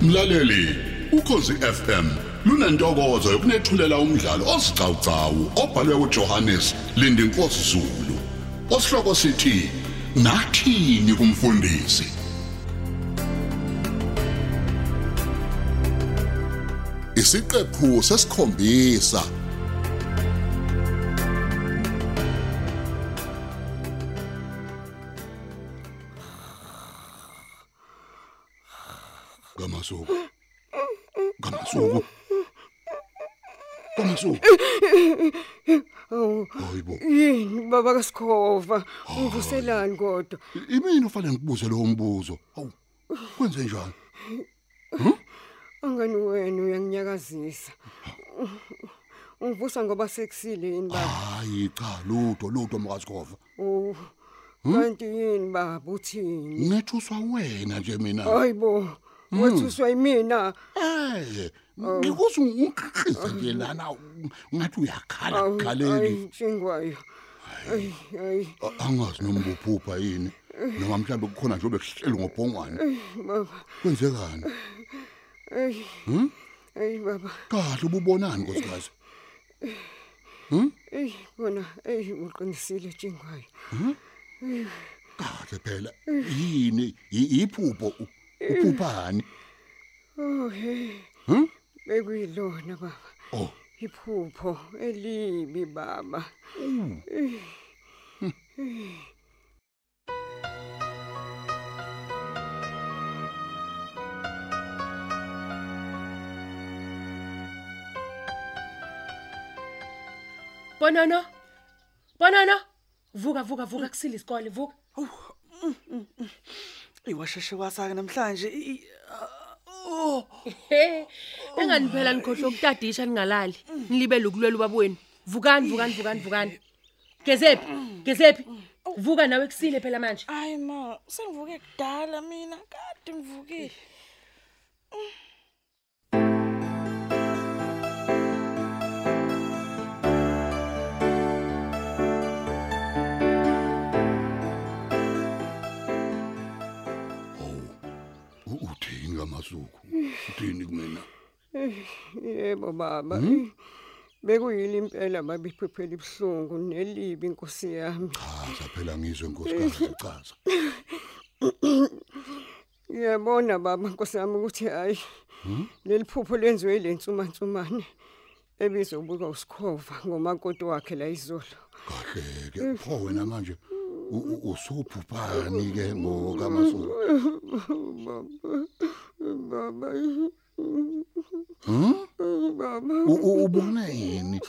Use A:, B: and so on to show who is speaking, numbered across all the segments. A: Mlaleli, ukhosi FM lunantokozo yokunethulela umdlalo osiqhawqhawo obhalwe uJohannes Lindinkosi Zulu. Osihloko sithi nathini kumfundisi? Isiqephu sesikhombisa ngamasuku ngamasuku ngamasuku hayibo
B: Oh, Yini baba kaSkhova, ungivuselani kodwa?
A: imini ufanele ngibuze lo mbuzo awu kwenze njani
B: Angani wena uyanginyakazisa. Ungivusa ngoba sekusile yini baba?
A: hayi cha ludo ludo makazikhova
B: Oh. Kanti yini baba uthini?
A: ngethuswa wena nje mina
B: Hayibo. Wathuswa yimina.
A: eh ngikuthi ungikhize nje lana ngathi uyakhala
B: Awu,
A: khaleni
B: ayi, Shingwayo. Ayi, ayi,
A: A- angazi noma uphupha yini noma mhlawumbe kukhona nje obekuhleli ngobhongwane
B: baba.
A: kwenzekani
B: Ayi. Ayi baba.
A: kahle ububonani nkosikazi
B: Ey, bona, ey, uqinisile Shingwayo.
A: kahle phela yini yi- yiphupho U- uphuphani
B: Oh, hey.
A: hm
B: Bekuyilona baba.
A: oh
B: Iphupho elibi baba.
C: Bonono. Bonono. Vuka vuka vuka kusile isikole vuka.
D: Iwasheshe kwasake namhlanje. i- i- ah, Oh,
C: He. Enganiphela nikhohle ukutadisha ningalali. Nilibele ukulwela ubabweni. Vukani vukani vukani vukani. Gezephi? Gezephi? Vuka nawe kusile phela manje.
E: Hayi ma, sengivuke kudala mina, kade ngivukile.
A: u- uthini ngamasuku uthini kumina
B: Yebo baba. Bekuyile impela babiphephela ibhlungu nelibi inkosi yami.
A: chaza phela ngizwe nkosikazi chaza
B: Ngiyabona baba inkosi yami ukuthi hayi. Leliphupho lenziwe ilentsuma ntsumane. Eh Ebizobukwa usikhova ngomakoti wakhe la izolo.
A: kahle ke pho wena manje u- u- usuphuphani ke ngoka masuku
B: Baba. Baba,
A: U- u- ubone yini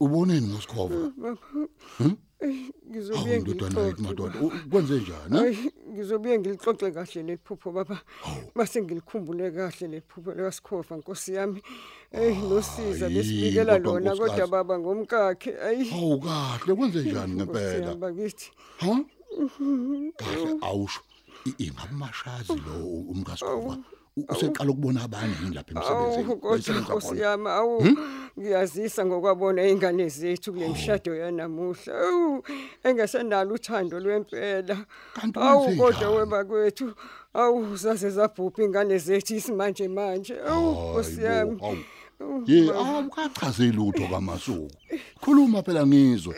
A: uboneni ngosikhova Ah,
B: ngizobuye
A: awundodana yethu
B: ngilixoxe.
A: madoda U- kwenze njani ha?
B: Hayi, ngizobuye ngilixoxe kahle leliphupho baba. Base ngilikhumbule kahle leliphupho likaSkhova Nkosi yami. Eh nosiza
A: Hayi,
B: besibikela
A: kodwa
B: lona kodwa
A: Nkosikazi.
B: baba ngomkakhe. Ayi.
A: hawu kahle kwenze njani ngempela
B: Bakithi.
A: ha kahle awusho I- ingamashazi lo umkasikhoba U- useqala ukubona abanye yini lapha
B: Awu
A: emsebenzini
B: kodwa
A: Bayisebenza
B: Nkosi
A: khona.
B: yami, awu
A: Hm?
B: ngiyazisa ngokwabona ingane zethu kule mshado yanamuhla. Awu engasenalo uthando lwempela.
A: Kanti
B: Awu
A: wenze
B: kodwa
A: njani?
B: webakwethu. Awu sase zabhupha ingane zethu isimanje manje. Awu Nkosi
A: Hayibo,
B: yami.
A: hawu. Ye awukachaze lutho kamasuku. Khuluma phela ngizwe.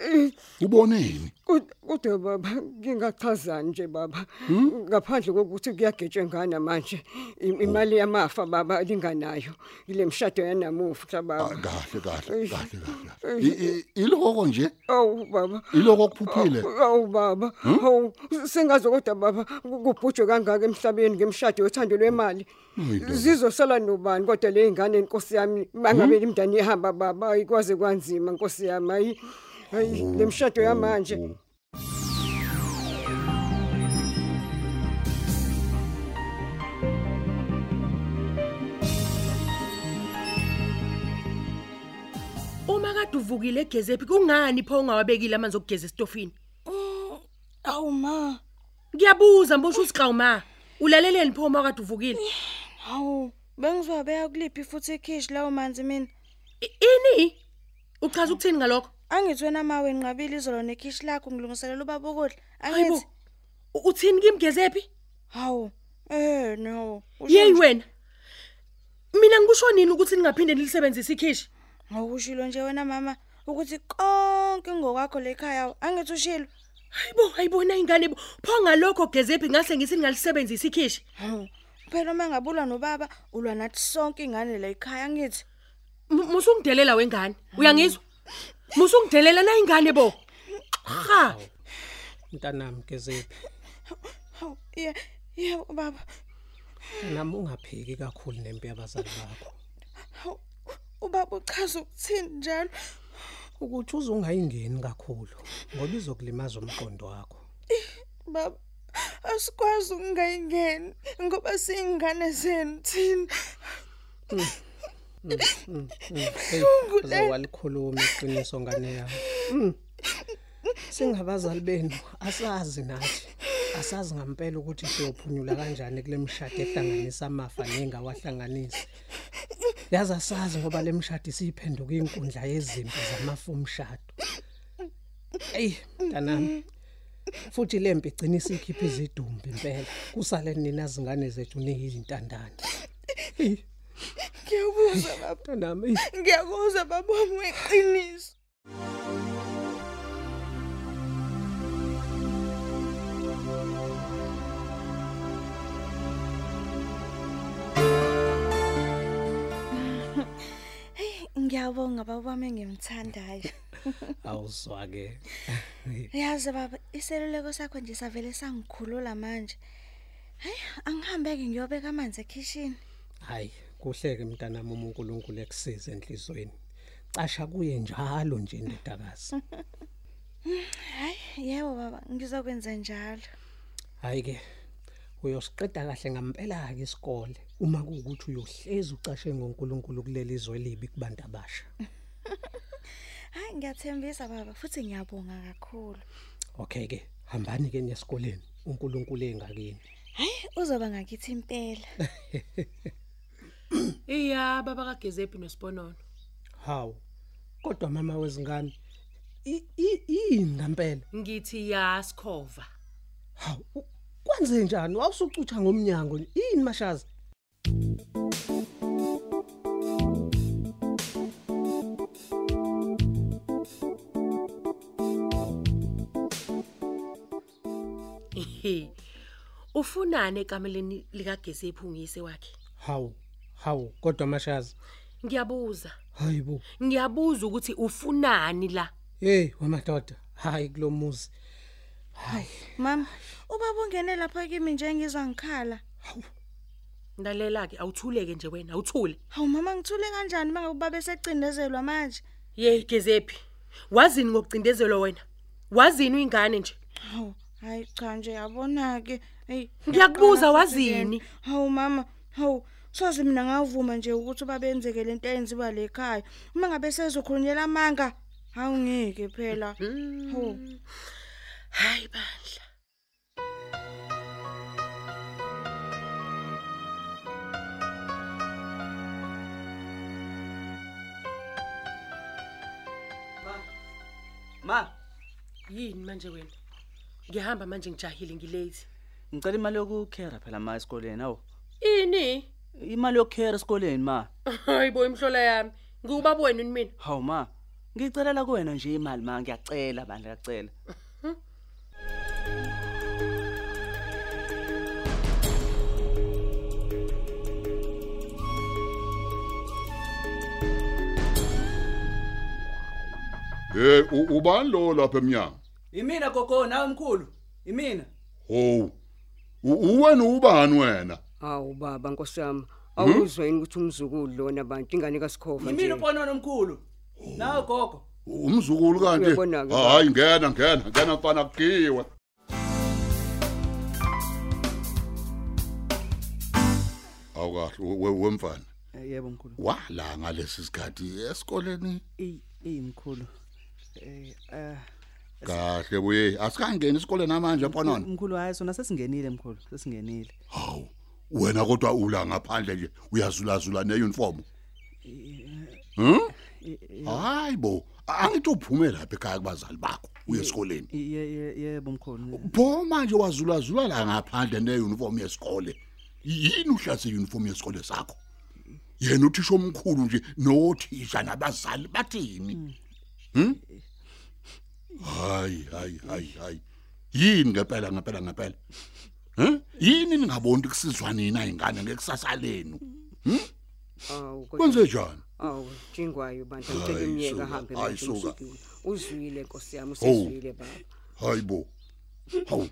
A: Uboneni?
B: Kud- Kodwa baba ngingachazani nje baba ngaphandle kokuthi kuyagetshwe ngana manje im- imali yamafa baba alinganayo ile mshado yanamuhla
A: Ah,
B: baba
A: Kahle kahle
B: Eish.
A: kahle kahle. I- i- Iloko nje,
B: awu baba
A: iloko kuphuphile.
B: awu baba awu sengazi kodwa baba ku- kubhujwe kangaka emhlabeni ngemshado yothando lwemali
A: Hayibo.
B: zizosala nobani kodwa le ngane inkosi yami bangabe imndani ihamba baba ayikwaze kwanzima inkosi yami hayi hayi le mshado yamanje
C: Uma kade uvukile Gezephi kungani pho ungawabekile amanzi okugeza estofini?
E: Awu ma,
C: Ngiyabuza mbosho usiqhawu ma. Ulaleleni pho uma kade uvukile?
E: awu bengizobeka kuliphi futhi ikhishi lawo manzi mina.
C: I- Ini? Uchaza ukuthini ngalokho?
E: Angithi wena ma wena nqabile izolo nekhishi lakho ngilungiselela ubaba ukudla.
C: Hayibo.
E: Angithi,
C: u- Uthini kimi Gezephi?
E: hawu, eh no. usho
C: Yey
E: nje.
C: wena mina ngikusho nini ukuthi ningaphinde nilisebenzise ikhishi
E: ngokushilo nje wena mama ukuthi konke ngokwakho lekhaya angithi ushilo
C: hayibo hayibona ingane bo pho ngalokho gezephi ngase ngithi ningalisebenzisa ikhishi
E: Hawu, phela uma ngabulwa nobaba ulwa nathi sonke ingane la ekhaya ngithi
C: M- musungidelela wengane uyangizwa musungidelela na ingane bo ha
F: mntanami gezephi
E: hawu ye- yebo baba
F: nami ungapheki kakhulu nempi yabazali bakho
E: hawu ubaba uchaza ukuthini njalo
F: ukuthi uzungayingeni kakhulu ngoba izokulimaza umqondo wakho
E: baba asikwazi ukungayingeni ngoba siyingane zenu thina
F: Eyi, uzowalikhuluma iqiniso ngane yami Mm. singabazali benu asazi nathi asazi ngempela ukuthi siyophunyula kanjani kule mshado ehlanganisa amafa nengawahlanganisi yazi asazi ngoba le mshado isiyiphenduka inkundla yezimpi zamafa umshado eyi mntanami futhi le mpi igcina isikhipha izidumbi impela kusale nina zingane zethu niyizintandane eyi
E: ngiyakuzwa baba
F: mntanami eyi
E: ngiyakuzwa baba wami weqiniso Hey, ngiyabonga baba wami engimthandayo
F: awuzwa ke
E: yazi baba iseluleko sakho nje savele sangikhulula manje hayi angihambeke ngiyobeka amanzi ekhishini
F: hayi kuhleke mntanami uma uNkulunkulu ekusiza enhlizweni casha kuye njalo nje indodakazi
E: hayi yebo baba ngizokwenza njalo
F: hayi ke uyosiqeda kahle ngempela ke isikole uma kuukuthi uyohleza ucashe ngoNkulunkulu kuleli izwe libi kubantu abasha
E: hayi ngiyathembisa baba futhi ngiyabonga kakhulu
F: okay ke hambani ke nesikoleni uNkulunkulu engakini
E: hayi uzoba ngakithi impela
C: iya baba kagezephi nosibonono
F: hawu kodwa mama wezingane i- i- yini ngempela
C: ngithi yasikhova
F: hawu u- kwenze njani awusucutha ngomnyango nje? yini mashaza
C: ufunane ekameleni likagezephi ungiyise wakhe
F: hawu hawu kodwa mashaza
C: ngiyabuza
F: hayibo
C: ngiyabuza ukuthi ufunani la
F: hey wamadoda hayi kulomuzi hayi
E: mama ubaba ungene lapha kimi nje ngizwa ngikhala
C: ndalela ke awuthuleke nje wena awuthule
E: hawu mama ngithule kanjani uma ngabe ubaba esecindezelwa manje
C: yey gezephi wazini ngokucindezelwa wena wazini uyingane nje
E: hawu hayi cha nje yabona-ke eyi
C: Ngiyakubuza,
E: ngiyaqala futhi
C: wazini?
E: lena. hawu mama hawu soze mina ngavuma nje ukuthi ubaba enzeke lento eyenziwa lekhaya uma ngabe sezokhulunyela amanga hawu ngeke phela hawu
C: hayi bandla
D: Ma,
C: yini manje wena ngihamba manje ngijahile ngilate
D: ngicela imali yokukhera phela ma esikoleni awu.
C: ini
D: Imali yokukhera esikoleni ma.
C: hayibo imhlola yami ngikuba wena mina
D: Hawu ma. Ngicelela kuwena nje imali ma, ngiyacela bandla ngiyacela.
A: hey u- ubani lo lapha emnyango
D: Imina gogo nawe mkhulu. Imina.
A: ho uwena ubani wena
B: Hawu baba Nkosi
A: Hmm?
B: yami, awuzwe yini ukuthi umzukulu lona bantu ingane kaSikhova nje.
D: uponono mkhulu. Nawe gogo.
A: umzukulu kanje
B: Uyabona-ke, baba.
A: hayi ngena ngena ngena mfana kugiwe awukahle we- we- wemfana
D: Eh, Yebo mkhulu.
A: wala ngalesi sikhathi esikoleni
D: Ey, ey mkhulu. Eh eh
A: kahle buye asikangeni isikoleni namanje mfonona
D: mkhulu hayi sona sesingenile mkhulu, sesingenile.
A: hawu wena kodwa ula ngaphandle nje uyazulazula neuniform hm hayibo angithi uphume lapha ekhaya kubazali bakho uye esikoleni
D: Ye- ye- Yebo mkhulu.
A: pho manje wazulazula la ngaphandle neuniform yesikole yini uhlatse uniform yesikole sakho yena uthisha omkhulu nje nothisha nabazali bathini hm hayi hayi hayi hayi yini ngempela ngempela ngempela hm yini ningaboni kusizwa nina ingane ngekusasa lenu
B: Awu kodwa
A: kwenze njani
B: awu jingwayo bandla
A: Hayi,
B: ngicela umyeka
A: suka,
B: hambe
A: hayi,
B: manje
A: suka.
B: uMsikile. Uzwile Nkosi yami usizwile baba.
A: hayibo hawu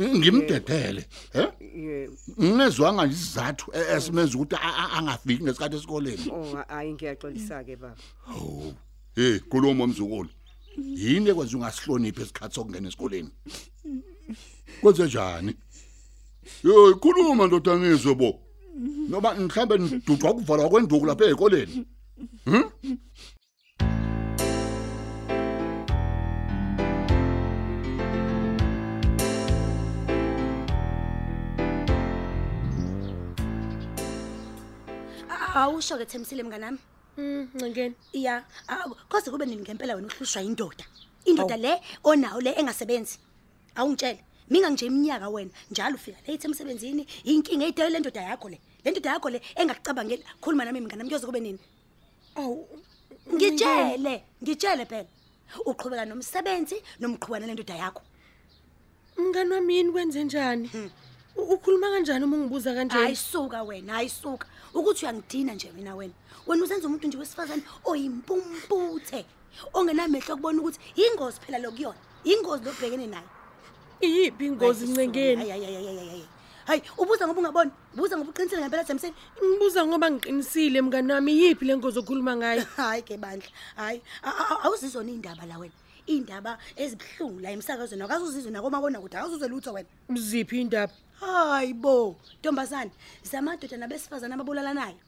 A: ngimdedele he
B: Ye,
A: ngezwanga izizathu e- esimenza ukuthi a- a- angafiki ngesikhathi esikoleni
B: oh hayi ngiyaxolisa ke baba.
A: hawu hey khuluma mzukulu yini ekwenza ungasihloniphi isikhathi sokungena esikoleni kwenze njani yo khuluma ndodanizwe bo noba mhlambe nidudwa kuvalwa kwenduku lapha ezikoleni
G: awusho ke themsile mnganami
C: ncengeni
G: ya awu, koze kube nini ngempela wena uhlushwa yindoda indoda le onawo le engasebenzi awungitshele minga nje iminyaka wena njalo ufika late emsebenzini inkinga eyidale le ndoda yakho le le ndoda yakho le engakucabangeli khuluma nami mnganami kuyoze kube nini
E: awu
G: ngitshele ngitshele phela uqhubeka nomsebenzi nomqhubana le ndoda yakho
C: mngani wami yini kwenze njani
H: Hmm.
C: U- ukhuluma kanjani uma ungibuza
G: hayi
C: kanje
G: suka wena hayi suka ukuthi uyangidina nje mina wena wena uzenza umuntu nje wesifazane oyimpumputhe ongenamehlo okubona ukuthi yingozi phela lokuyona yingozi lobhekene nayo
C: iyiphi ingozi ncengeni
G: ncengeni hayi ubuza ngoba ungaboni ubuza ngoba uqinisile ngempela jamiseni
C: ngibuza ngoba ngiqinisile mngani wami iyiphi le ngozi okhuluma ngayo
G: hayi ke bandla hayi A- a- a- awuzizona iy'ndaba la wena iy'ndaba ezibuhlungu la emsakazweni akazuzizwe nakomabonakude akazuze lutho wena
C: ziphi indaba
G: hayi bo ntombazane zamadoda nabesifazane ababulalanayo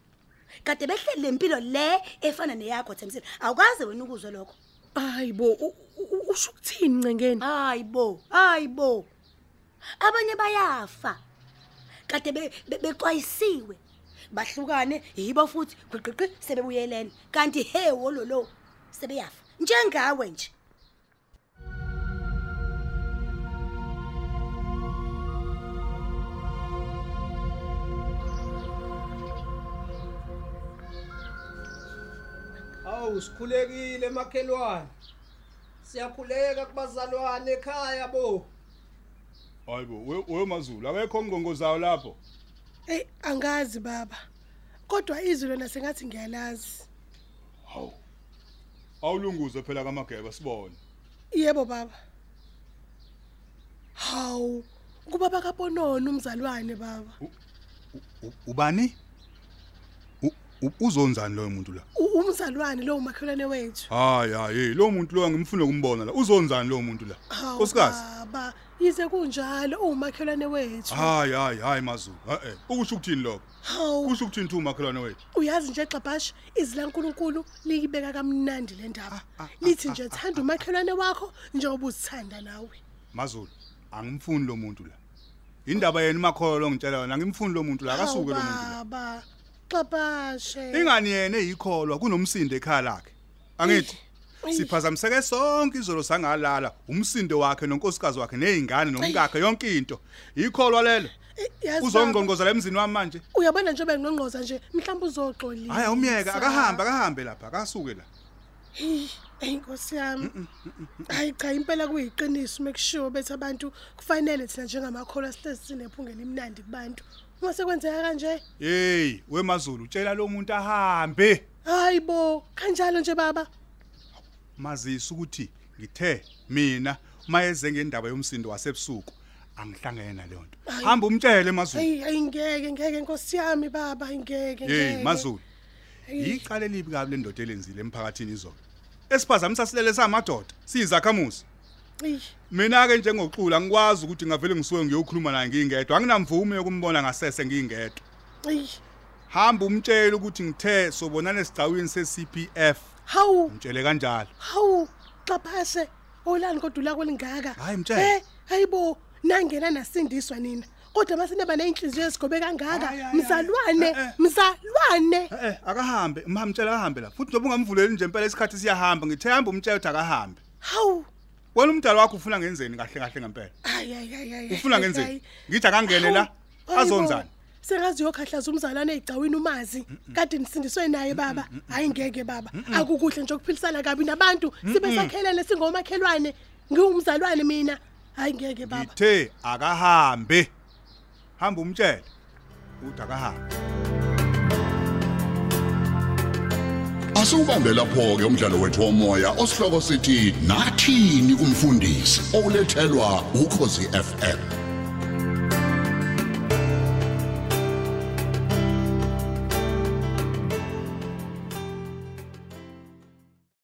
G: kade behleli le mpilo le efana neyakho thembisile awukaze wena ukuzwe lokho
C: hayi bo u- u- u- usho ukuthini ncengeni
G: hayi bo hayi bo abanye bayafa kade be- be- bexwayisiwe bahlukane yibo futhi gwiqiqi sebebuyelene kanti he wololo sebeyafa njengawe nje
F: Awu sikhulekile makhelwane. Siyakhuleka kubazalwane ekhaya bo.
I: hayibo we- we mazulu akekho ongongozayo lapho
H: Ey angazi baba. Kodwa izwi lona sengathi ngiyalazi.
I: hawu awulunguze phela kamageba sibone
H: Yebo baba. Hawu, kuba bakaponona umzalwane baba.
I: ubani uzonzani loyo muntu la
H: U- Umzalwane lo umakhelwane wethu.
I: hayi hayi lo muntu lo ngimfuna kumbona la uzonzani lo muntu la
H: Hawu,
I: nkosikazi
H: Baba, yize kunjalo umakhelwane wethu.
I: hayi hayi hayi mazulu eh eh ukusho ukuthini lokho
H: Hawu,
I: kusho ukuthini thu makhelwane wethu
H: uyazi nje xabhasha izilankulunkulu liyibeka kamnandi le
I: Ah,
H: ndaba. Lithi nje thanda umakhelwane wakho njengoba uzithanda nawe.
I: mazulu angimfuni lo muntu la indaba yena umakholo lo ngitshela yona angimfuni lo muntu la akasuke lo muntu la
H: Hawu, Baba, xabhasha.
I: ingani yena eyikholwa kunomsindo ekhaya lakhe angithi siphazamiseke sonke izolo sangalala umsindo wakhe nonkosikazi wakhe nezingane nomkakhe yonke into ikholwa lelo
H: Eh, yazi baba,
I: uzongongozela emzini wami manje
H: uyabona nje bengqongqoza nje mhlawumbe uzoxolisa
I: hayi awumyeke akahambe akahambe lapha akasuke la
H: ayinkosi
I: Mm,
H: yami hayi cha impela kuyiqiniso mekushiwo bethi abantu kufanele thina njengamakholo sitezi sinephunga elimnandi kubantu uma sekwenzeka kanje
I: hey wemazulu tshela lo muntu ahambe
H: hayi bo kanjalo nje baba
I: Mm. mazisa ukuthi ngithe mina mayeze ngendaba yomsindo wasebusuku angihlangene naleyo nto hamba umtshele mazulu
H: hayi hayi ngeke ngeke nkosi yami baba hayi ngeke
I: hey
H: ngeke.
I: mazulu yiqale libi kabi lendoda elenzile emphakathini izolo esiphazamisa silele samadoda siyizakhamuzi
H: Eyi,
I: mina ke njengoxula ngikwazi ukuthi ngavele ngisuke ngiyokhuluma naye ngingedwa anginamvume yokumbona ngasese ngingedwa
H: eyi.
I: hamba umtshele ukuthi ngithe sobonana esigcawini se-CPF
H: hawu
I: mtshele kanjalo
H: hawu xaphase olani kodwa ula kwelingaka
I: Hhayi, mtshele.
H: Eh, hayi bo nangena nasindiswa nina kodwa masinaba ney'nhliziyo ezigobe
I: Hhayi,
H: kangaka
I: hhayi,
H: mzalwane
I: hhayi. Eh, eh.
H: mzalwane
I: eh eh, akahambe mhamtshele akahambe la futhi noba ungamvuleli nje impela isikhathi siyahamba ngithe hamba umtshele ukuthi akahambe
H: hawu
I: wena umdala wakho ufuna ngenzeni kahle kahle ngempela
H: hayi hayi hayi hayi,
I: ufuna
H: hayi,
I: ngenzeni
H: hayi.
I: ngithi akangene la
H: Hawu, hayi bo.
I: azonzani
G: sengazi uyokhahlaza umzalwane ey'gcawini umazi kade nisindiswe naye baba hhayi ngeke baba akukuhle nje ukuphilisana kabi nabantu sibe sakhelene singomakhelwane ngiwumzalwane mina hhayi ngeke baba
I: ngithe akahambe hamba umtshele uthi akahambe
A: Asubambe lapho ke umdlalo wethu womoya osihloko sithi nathini kumfundisi owulethelwa ukhosi FM